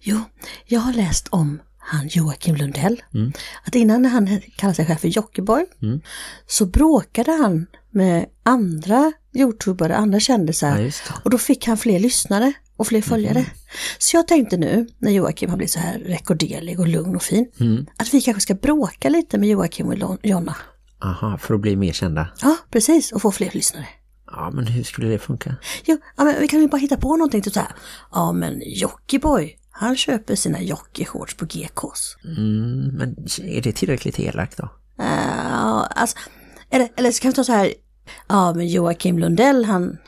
Jo, jag har läst om han Joakim Lundell. Att innan när han kallade sig själv för Jockiboi Mm. så bråkade han med andra youtubare, andra kändisar. Ja, just det. Och då fick han fler lyssnare och fler följare. Så jag tänkte nu, när Joakim har blivit så här rekorderlig och lugn och fin, Mm. att vi kanske ska bråka lite med Joakim och Lon- Jonna. Aha, för att bli mer kända. Ja, precis, och få fler lyssnare. Ja, men hur skulle det funka? Jo, ja, men vi kan ju bara hitta på någonting, typ så här. Ja, men Jockiboi, han köper sina jockeyshorts på GKs. Mm, men är det tillräckligt elakt då? Uh, alltså, eller, eller så kan vi ta så här. Ja, men Joakim Lundell, han...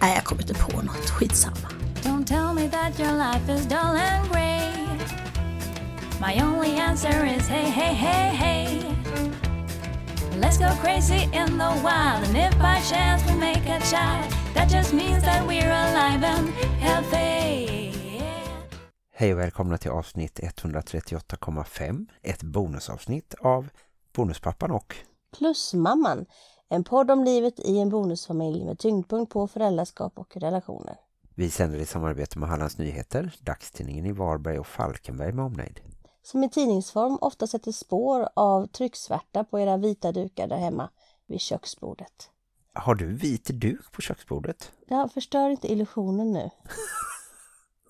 Nej, jag kommer inte på något. Skitsamma. Don't tell me that your life is dull and grey. My only answer is hey, hey, hey, hey. Let's go crazy in the wild, and if by chance we make a child, that just means that we're alive and healthy. Hej och välkomna till avsnitt 138,5. Ett bonusavsnitt av Bonuspappan och... Plusmamman, en podd om livet i en bonusfamilj med tyngdpunkt på föräldraskap och relationer. Vi sänder i samarbete med Hallands Nyheter, dagstidningen i Varberg och Falkenberg med omnejd. Som i tidningsform ofta sätter spår av trycksvärta på era vita dukar där hemma vid köksbordet. Har du vit duk på köksbordet? Ja, förstör inte illusionen nu.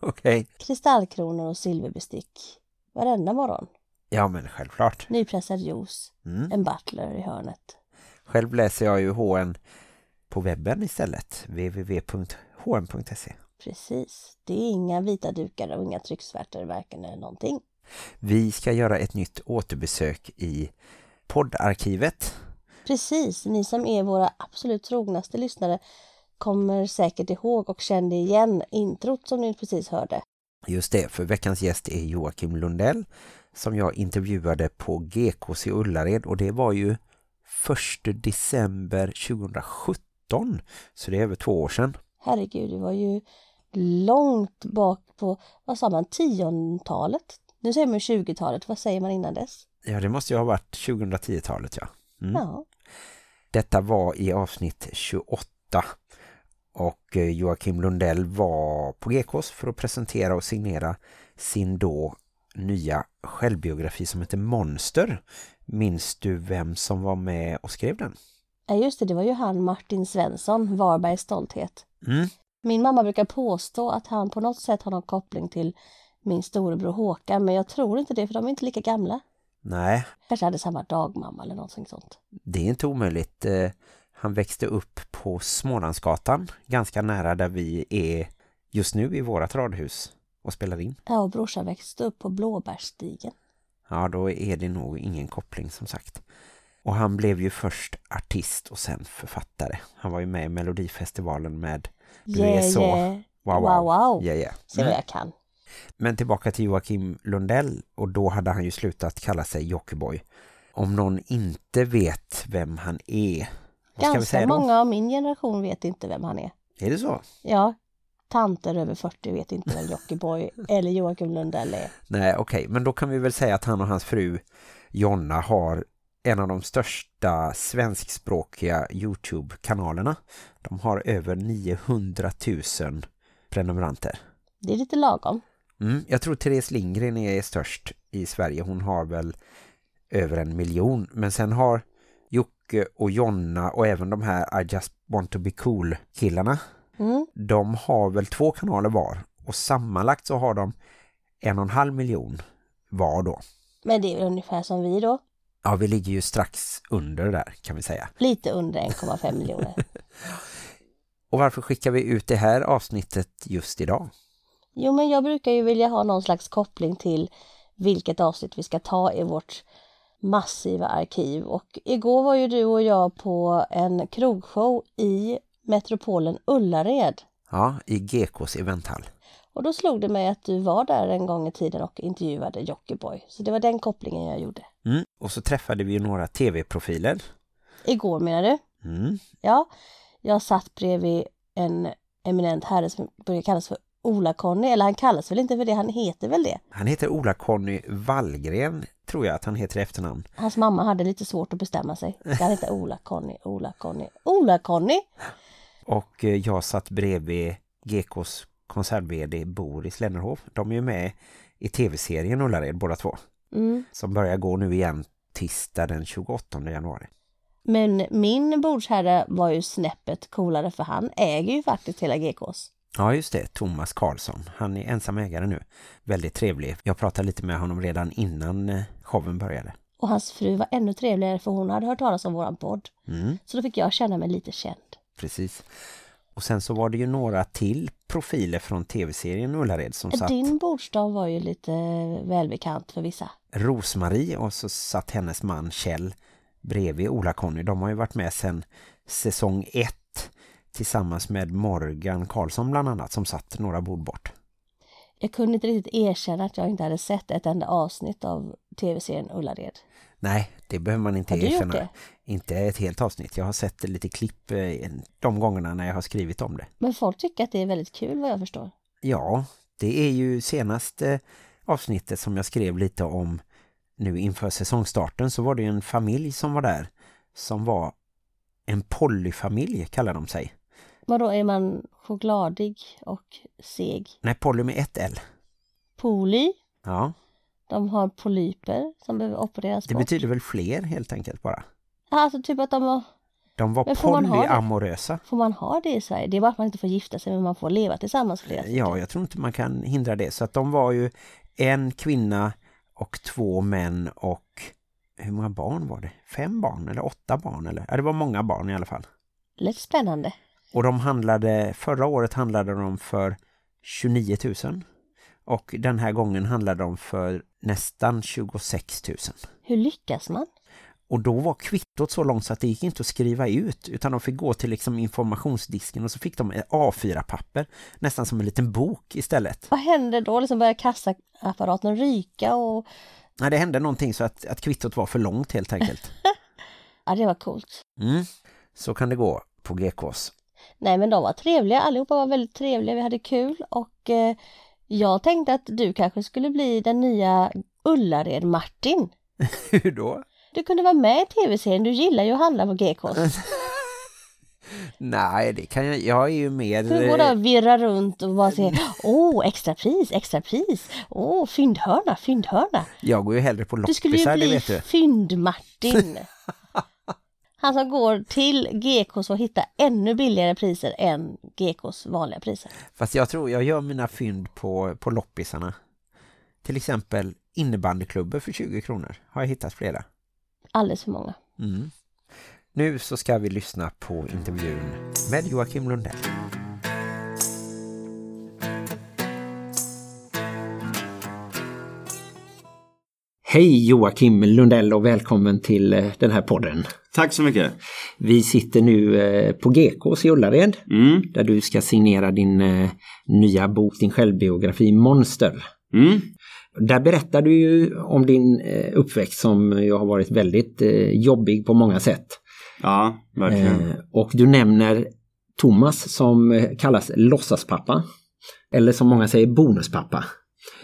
Okej. Kristallkronor och silverbestick. Varenda morgon. Ja, men självklart. Nypressad juice. Mm. En butler i hörnet. Själv läser jag ju HN på webben istället. www.hn.se Precis. Det är inga vita dukar och inga trycksvärtor varken eller någonting. Vi ska göra ett nytt återbesök i poddarkivet. Precis, ni som är våra absolut trognaste lyssnare kommer säkert ihåg och kände igen introt som ni precis hörde. Just det, för veckans gäst är Joakim Lundell som jag intervjuade på GKC Ullared och det var ju 1 december 2017 så det är över två år sedan. Herregud, det var ju långt bak på, vad sa man, tiontalet? Nu säger man 20-talet, vad säger man innan dess? Ja, det måste ju ha varit 2010-talet ja. Mm. Ja, Detta var i avsnitt 28 och eh, Joakim Lundell var på GKs för att presentera och signera sin då nya självbiografi som heter Monster. Minns du vem som var med och skrev den? ja just det, det var ju han Martin Svensson, Varbergs stolthet. Mm. Min mamma brukar påstå att han på något sätt har någon koppling till min storebror Håkan, men jag tror inte det för de är inte lika gamla. Nej, Kanske hade samma dagmamma eller någonting sånt. det är inte omöjligt. Eh, Han växte upp på Smålandsgatan, ganska nära där vi är just nu i vårat radhus och spelar in. Ja, och brorsan växte upp på Blåbärsstigen. Ja, då är det nog ingen koppling som sagt. Och han blev ju först artist och sen författare. Han var ju med i Melodifestivalen med Du är så. Wow Wow. Wow, wow. Yeah, Mm. yeah. Se vad jag kan. Men tillbaka till Joakim Lundell och då hade han ju slutat kalla sig Jockiboi. Om någon inte vet vem han är, vad ska vi Ganska säga då? många av min generation vet inte vem han är. Är det så? Ja, tanter över 40 vet inte vem Jockiboi eller Joakim Lundell är. Nej, okej. Men då kan vi väl säga att han och hans fru Jonna har en av de största svenskspråkiga Youtube-kanalerna. De har över 900 000 prenumeranter. Det är lite lagom. Mm, jag tror Therese Lindgren är störst i Sverige. Hon har väl över en miljon. Men sen har Jocke och Jonna och även de här I just want to be cool-killarna. Mm. De har väl två kanaler var. Och sammanlagt så har de en och en halv miljon var då. Men det är väl ungefär som vi då. Ja, vi ligger ju strax under där kan vi säga. Lite under 1,5 miljoner. Och varför skickar vi ut det här avsnittet just idag? Jo, men jag brukar ju vilja ha någon slags koppling till vilket avsnitt vi ska ta i vårt massiva arkiv. Och igår var ju du och jag på en krogshow i metropolen Ullared. Ja, i GKs eventhall. Och då slog det mig att du var där en gång i tiden och intervjuade Jockiboi. Så det var den kopplingen jag gjorde. Mm. Och så träffade vi ju några tv-profiler. Igår menar du? Mm. Ja, jag satt bredvid en eminent herre som brukar kallas för Ola-Conny. Eller han kallas väl inte för det, han heter väl det. Han heter Ola-Conny Wallgren, tror jag att han heter i efternamn. Hans mamma hade lite svårt att bestämma sig. Ska han heta Ola-Conny, Ola-Conny, Ola-Conny? Och eh, jag satt bredvid GKs koncern-vd Boris Lennerhov. De är ju med i tv-serien Ullared båda två. Mm. Som börjar gå nu igen tisdag den 28 januari. Men min bordsherre var ju snäppet coolare för han äger ju faktiskt hela GKs. Ja just det, Thomas Karlsson. Han är ensam ägare nu. Väldigt trevlig. Jag pratade lite med honom redan innan eh, showen började. Och hans fru var ännu trevligare för hon hade hört talas om våran podd. Mm. Så då fick jag känna mig lite känd. Precis. Och sen så var det ju några till profiler från tv-serien Ullared som satt Din bordsdag var ju lite välbekant för vissa. Rosmarie och så satt hennes man Kjell bredvid Ola-Conny. De har ju varit med sedan säsong ett tillsammans med Morgan Karlsson bland annat som satt några bord bort. Jag kunde inte riktigt erkänna att jag inte hade sett ett enda avsnitt av tv-serien Ullared. Nej, det behöver man inte Har du gjort erkänna. det? Inte ett helt avsnitt. Jag har sett lite klipp eh, de gångerna när jag har skrivit om det. Men folk tycker att det är väldigt kul vad jag förstår. Ja, det är ju senaste avsnittet som jag skrev lite om nu inför säsongstarten så var det ju en familj som var där som var en polyfamilj kallar de sig. Vadå, är man chokladig och seg? Nej, poly med ett L. Poly, Ja, de har polyper som behöver opereras det bort. betyder väl fler helt enkelt bara. Ja, Alltså typ att de har... De var Men får man ha det? polyamorösa. Får man ha det i Sverige? Det är bara att man inte får gifta sig men man får leva tillsammans flera stycken. Eh, Ja, jag tror inte man kan hindra det. Så att de var ju en kvinna och två män och hur många barn var det? Fem barn eller åtta barn? Eller? Ja, det var många barn i alla fall. Lite spännande. Och de handlade, förra året handlade de för 29 000. Och den här gången handlade de för nästan 26 000. Hur lyckas man? Och då var kvittot så långt så att det gick inte att skriva ut utan de fick gå till liksom informationsdisken och så fick de ett A4-papper, nästan som en liten bok istället. Vad händer då? Liksom börjar kassaapparaten ryka och... Nej, det hände någonting så att, att kvittot var för långt helt enkelt. Ja, det var coolt. Mm. Så kan det gå på GKs. Nej, men de var trevliga. Allihopa var väldigt trevliga. Vi hade kul och eh, jag tänkte att du kanske skulle bli den nya Ullared-Martin. Hur då? Du kunde vara med i tv-serien. Du gillar ju att handla på GKs. Nej, det kan jag... Jag är ju mer... Du går där och virrar runt och bara säger Åh, extra pris, extra pris. Åh, fyndhörna, fyndhörna. Jag går ju hellre på Du skulle ju loppisar, det bli vet du. Fynd-Martin. Han som går till GKs och hittar ännu billigare priser än GKs vanliga priser. Fast jag tror jag gör mina fynd på, på loppisarna. Till exempel innebandyklubbor för 20 kronor. Har jag hittat flera. Alldeles för många. Mm. Nu så ska vi lyssna på intervjun med Joakim Lundell. Hej Joakim Lundell och välkommen till eh, den här podden. Tack så mycket. Vi sitter nu eh, på GKs i Ullared Mm. där du ska signera din eh, nya bok, din självbiografi Monster. Mm. Där berättar du ju om din eh, uppväxt som ju har varit väldigt eh, jobbig på många sätt. Ja, verkligen. Eh, och du nämner Thomas som eh, kallas låtsaspappa. Eller som många säger bonuspappa.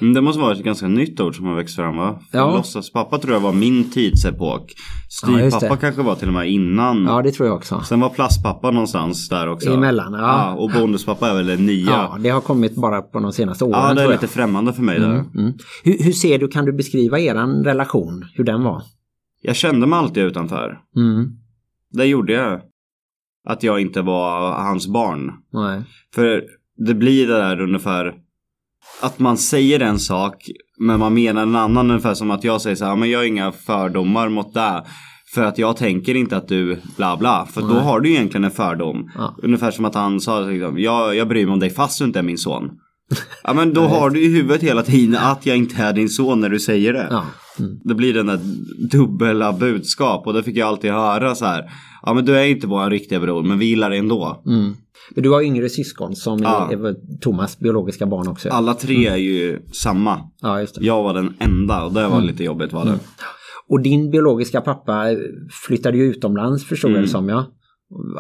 Mm, Det måste vara ett ganska nytt ord som har växt fram va? Ja. Ja. Låtsaspappa tror jag var min tidsepok. Ja, just Styvpappa det. kanske var till och med innan. Ja, det tror jag också. Sen var plastpappa någonstans där Mm. också. Ah, Emellan, ja. och bonuspappa är väl en nia. Ja, Ja, det har kommit bara på de senaste åren det är tror jag. lite främmande för mig där. Mm. Hur, hur ser du, kan du beskriva eran relation, hur den var? Jag kände mig alltid utanför. Mm. Det gjorde jag. Att jag inte var hans barn. Nej. För det blir det där ungefär att man säger en sak men man menar en annan ungefär som att jag säger så här, men jag har inga fördomar mot det. För att jag tänker inte att du bla bla. För då har du ju egentligen en fördom. Ja. Ungefär som att han sa liksom, jag, jag bryr mig om dig fast du inte är min son. Ja men då har du i huvudet hela tiden att jag inte är din son när du säger det. Ja. Mm. Det blir den där dubbla budskap och det fick jag alltid höra så här. Ja men du är inte vår riktiga bror men vi gillar dig ändå. Mm. Men du har yngre syskon som Ja. är, är Thomas biologiska barn också. Alla tre är ju samma. Ja, just det. Typ. Jag var den enda och det Mm. var lite jobbigt var det. Och din biologiska pappa flyttade ju utomlands förstod jag det som ja.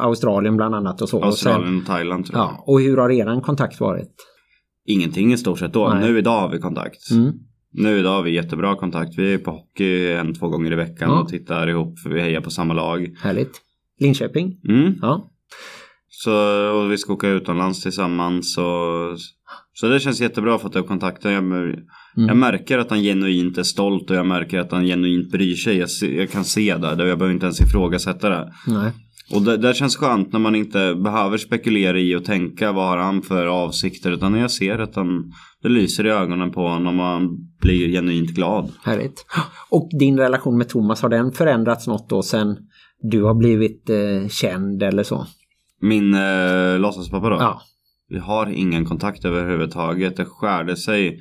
Australien bland annat och så. Och sen, Mm. Australien och Thailand tror jag. ja, och hur har eran kontakt varit? Ingenting i stort sett då. Nej. Nu idag har vi kontakt. Mm. Nu idag har vi jättebra kontakt. Vi är på hockey en, två gånger i veckan Ja. och tittar ihop för vi hejar på samma lag. Härligt. Linköping? Mm. Ja. Så, och vi ska åka utomlands tillsammans. Och, så det känns jättebra för att jag har kontakten. Jag, Mm. jag märker att han genuint är stolt och jag märker att han genuint bryr sig. Jag, se- jag kan se det. det- Jag behöver inte ens ifrågasätta det. Nej. Och det, det känns skönt när man inte behöver spekulera i och tänka vad har han för avsikter. Utan när jag ser att han, det lyser i ögonen på honom och han blir genuint glad. Härligt. Och din relation med Thomas, har den förändrats något då sen du har blivit eh, känd eller så? Min eh, låtsaspappa då? Ja. Vi har ingen kontakt överhuvudtaget. Det skärde sig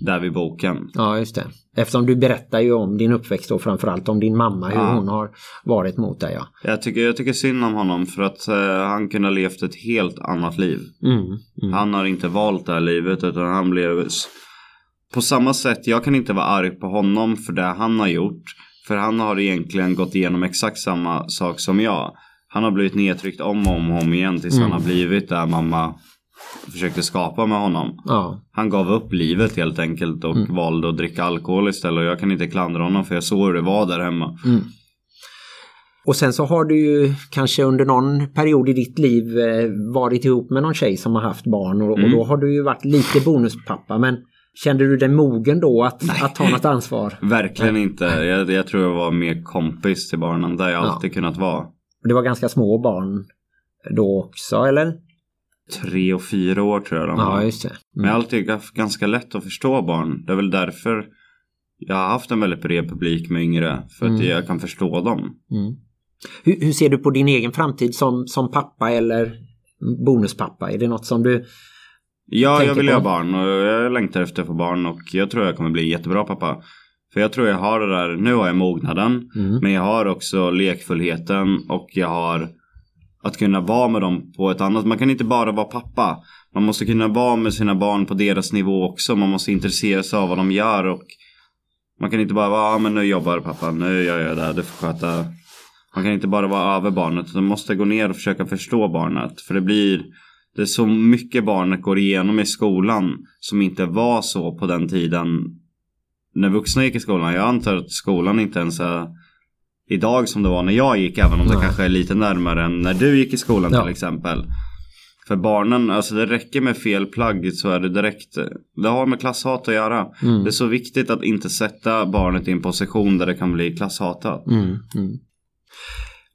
där vid boken. ja, just det. Eftersom du berättar ju om din uppväxt och framförallt om din mamma, hur Ja. hon har varit mot dig. Ja. Jag tycker, jag tycker synd om honom för att eh, han kunde ha levt ett helt annat liv. Mm. Mm. Han har inte valt det här livet utan han blev... s- På samma sätt, jag kan inte vara arg på honom för det han har gjort. För han har egentligen gått igenom exakt samma sak som jag. Han har blivit nedtryckt om och om, och om igen tills Mm. han har blivit där mamma försökte skapa med honom. Ja. Han gav upp livet helt enkelt och Mm. valde att dricka alkohol istället. Och jag kan inte klandra honom för jag såg hur det var där hemma. Mm. Och sen så har du ju kanske under någon period i ditt liv eh, varit ihop med någon tjej som har haft barn och, och då har du ju varit lite bonuspappa men kände du dig mogen då att, att ta något ansvar? Verkligen inte. Jag, jag tror jag var mer kompis till barnen. Där har jag Ja. alltid kunnat vara. Det var ganska små barn då också eller? Tre och fyra år tror jag de var. Ja just det. Mm. Men jag har alltid haft ganska lätt att förstå barn. Det är väl därför jag har haft en väldigt bred publik med yngre. För att jag kan förstå dem. Mm. Hur, hur ser du på din egen framtid som, som pappa eller bonuspappa? Är det något som du... Ja, Tänker jag vill på- ha barn och jag längtar efter att få barn och jag tror jag kommer bli en jättebra pappa. För jag tror jag har det där, nu har jag mognaden, Mm. men jag har också lekfullheten och jag har att kunna vara med dem på ett annat, man kan inte bara vara pappa. Man måste kunna vara med sina barn på deras nivå också, man måste intressera sig av vad de gör och man kan inte bara vara, ja men nu jobbar pappa, nu gör jag det här, du får sköta. Man kan inte bara vara över barnet, utan man måste gå ner och försöka förstå barnet. För det blir, det är så mycket barnet går igenom i skolan som inte var så på den tiden när vuxna gick i skolan. Jag antar att skolan inte ens är idag som det var när jag gick, även om det Nej. kanske är lite närmare än när du gick i skolan Ja. till exempel. För barnen, alltså det räcker med fel plagg så är det direkt, det har med klasshat att göra. Mm. Det är så viktigt att inte sätta barnet i en position där det kan bli klasshatat. Mm, mm.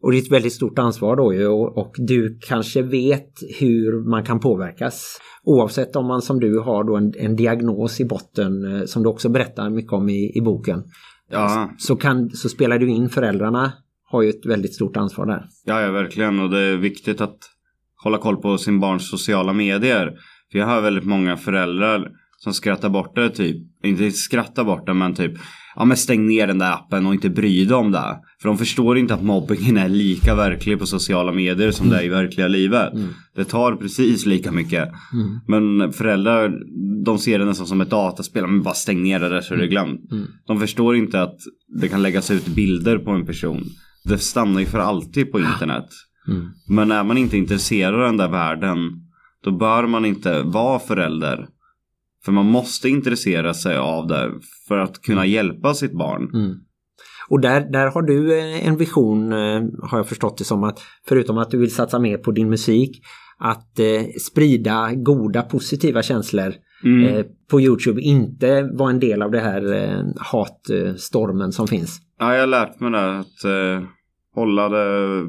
Och det är ett väldigt stort ansvar då ju och, och du kanske vet hur man kan påverkas. Oavsett om man som du har då en, en diagnos i botten eh, som du också berättar mycket om i, i boken. Ja, Så, kan, så spelar du in föräldrarna har ju ett väldigt stort ansvar där. ja, ja verkligen och det är viktigt att hålla koll på sin barns sociala medier. För jag hör väldigt många föräldrar som skrattar bort det typ, inte skrattar bort det men typ Ja men stäng ner den där appen och inte bry dig om det. För de förstår inte att mobbingen är lika verklig på sociala medier som det är i verkliga livet. Det tar precis lika mycket. Mm, Men föräldrar, de ser det nästan som ett dataspel. Men bara stäng ner det där så är det glömt. De förstår inte att det kan läggas ut bilder på en person. Det stannar ju för alltid på internet. mm, Men är man inte intresserad av den där världen, då bör man inte vara förälder. För man måste intressera sig av det för att kunna hjälpa sitt barn. mm. Och där, där har du eh, en vision, eh, har jag förstått det som, att förutom att du vill satsa mer på din musik, att eh, sprida goda, positiva känslor Mm. eh, på Youtube, inte vara en del av det här eh, hatstormen som finns. Ja, jag har lärt mig det. Att eh, hålla det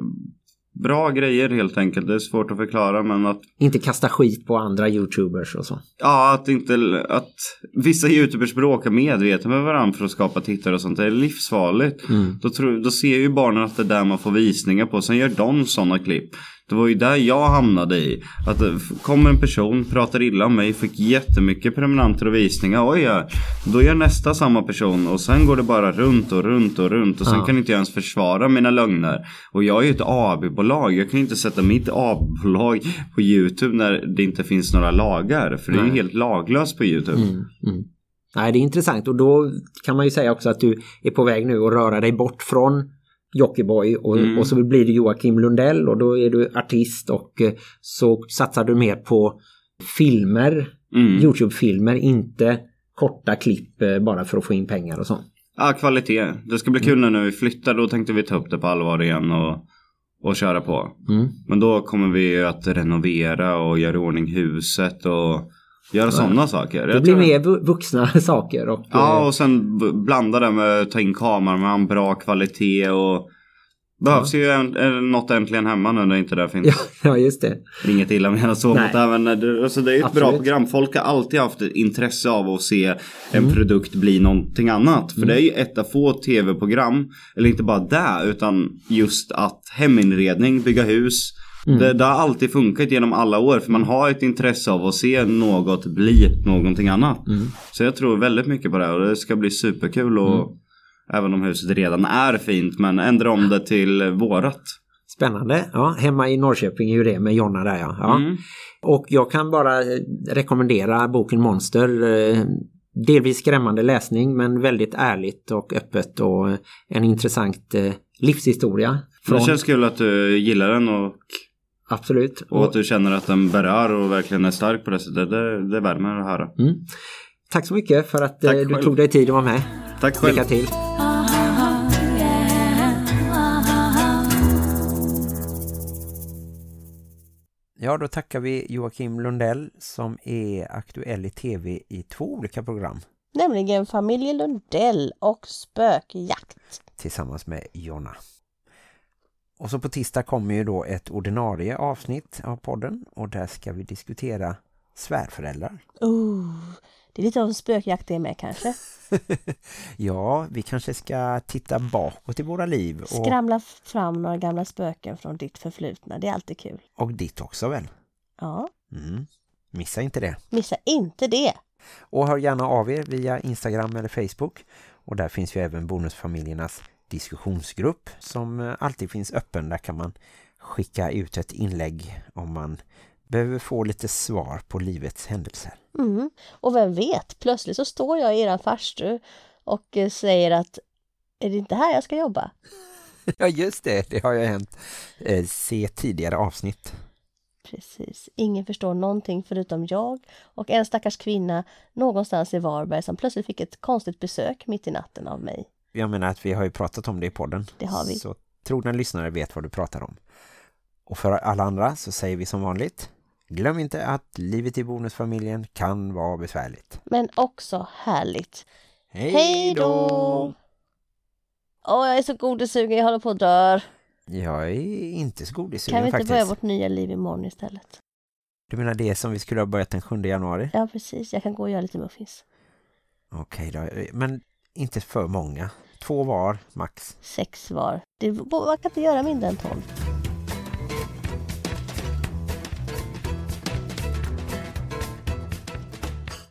bra grejer helt enkelt. Det är svårt att förklara men att Inte kasta skit på andra Youtubers och så. Ja, att inte att vissa youtubers bråkar medvetet med varandra för att skapa tittare och sånt. Det är livsfarligt. Då, tror, då ser ju barnen att det är där man får visningar på. Sen gör de sådana klipp. Det var ju där jag hamnade i. Att det f- kom en person, pratade illa om mig, fick jättemycket prenumeranter och visningar. Oj, ja. Då gör nästa samma person och sen går det bara runt och runt och runt. Och sen kan inte jag ens försvara mina lögner. Och jag är ju ett AB-bolag. Jag kan ju inte sätta mitt AB-bolag på YouTube när det inte finns några lagar. För det är ju helt laglöst på YouTube. Mm. Nej, det är intressant och då kan man ju säga också att du är på väg nu att röra dig bort från Jockiboi och, Mm. och så blir du Joakim Lundell och då är du artist och eh, så satsar du mer på filmer, Mm. Youtube-filmer, inte korta klipp eh, bara för att få in pengar och så. Mm. Ja, kvalitet. Det ska bli kul när vi flyttar. Då tänkte vi ta upp det på allvar igen och, att köra på. Mm. Men då kommer vi ju att renovera och göra i ordning huset och göra sådana saker. Det Jag blir tror- mer vu- vuxna saker. Och, Ja, eh, och sen b- blanda det med ta in kameran med en bra kvalitet och Behövs ju en, en, något äntligen hemma nu när inte det finns. ja, ja, just det. Inget illa menat så Nej. mot det här, men det, alltså det är ett bra Absolut. program. Folk har alltid haft ett intresse av att se en Mm. produkt bli någonting annat. För det är ju ett av få tv-program, eller inte bara det, utan just att heminredning, bygga hus. Mm. Det, det har alltid funkat genom alla år för man har ett intresse av att se något bli någonting annat. Mm. Så jag tror väldigt mycket på det här och det ska bli superkul och Mm. även om huset redan är fint men ändra om det till vårat. Spännande. Ja, hemma i Norrköping är ju det med Jonna där ja. ja. Mm. Och jag kan bara eh, rekommendera boken Monster. eh, Delvis skrämmande läsning men väldigt ärligt och öppet och eh, en intressant eh, livshistoria. Från, Det känns kul att du gillar den och Absolut. Och att du känner att den berör och verkligen är stark på det sättet, det, det värmer att höra. Mm. Tack så mycket för att eh, Tack du själv. tog dig tid att vara med. Tack själv. Lycka till. Uh-huh, Ja, då tackar vi Joakim Lundell som är aktuell i tv i två olika program Nämligen familjen Lundell och spökjakt. tillsammans med Jonna. Och så på tisdag kommer ju då ett ordinarie avsnitt av podden och där ska vi diskutera svärföräldrar. Oh, det är lite av en spökjakt det med kanske. Ja, vi kanske ska titta bakåt i våra liv och, Skramla f- fram några gamla spöken från ditt förflutna, det är alltid kul. och ditt också väl? Ja, Mm. Missa inte det. missa inte det! Och hör gärna av er via Instagram eller Facebook. Och där finns ju även Bonusfamiljernas diskussionsgrupp som eh, alltid finns öppen. Där kan man skicka ut ett inlägg om man behöver få lite svar på livets händelser. Mm. Och vem vet, plötsligt så står jag i eran farstu och eh, säger att är det inte här jag ska jobba? Ja just det, det har ju hänt. Eh, Se tidigare avsnitt. Precis, ingen förstår någonting förutom jag och en stackars kvinna någonstans i Varberg som plötsligt fick ett konstigt besök mitt i natten av mig. Jag menar att vi har ju pratat om det i podden. Det har vi. Så trogna lyssnare vet vad du pratar om. Och för alla andra så säger vi som vanligt. Glöm inte att livet i bonusfamiljen kan vara besvärligt. Men också härligt. Hej då! Åh, jag är så godisugen, jag håller på att dö. Jag är inte så godissugen Kan vi inte faktiskt. börja vårt nya liv imorgon istället? Du menar det som vi skulle ha börjat den 7 januari? Ja, precis. Jag kan gå och göra lite muffins. Okej då, men inte för många. Två var max. Sex var. Det, man kan inte göra mindre än tolv.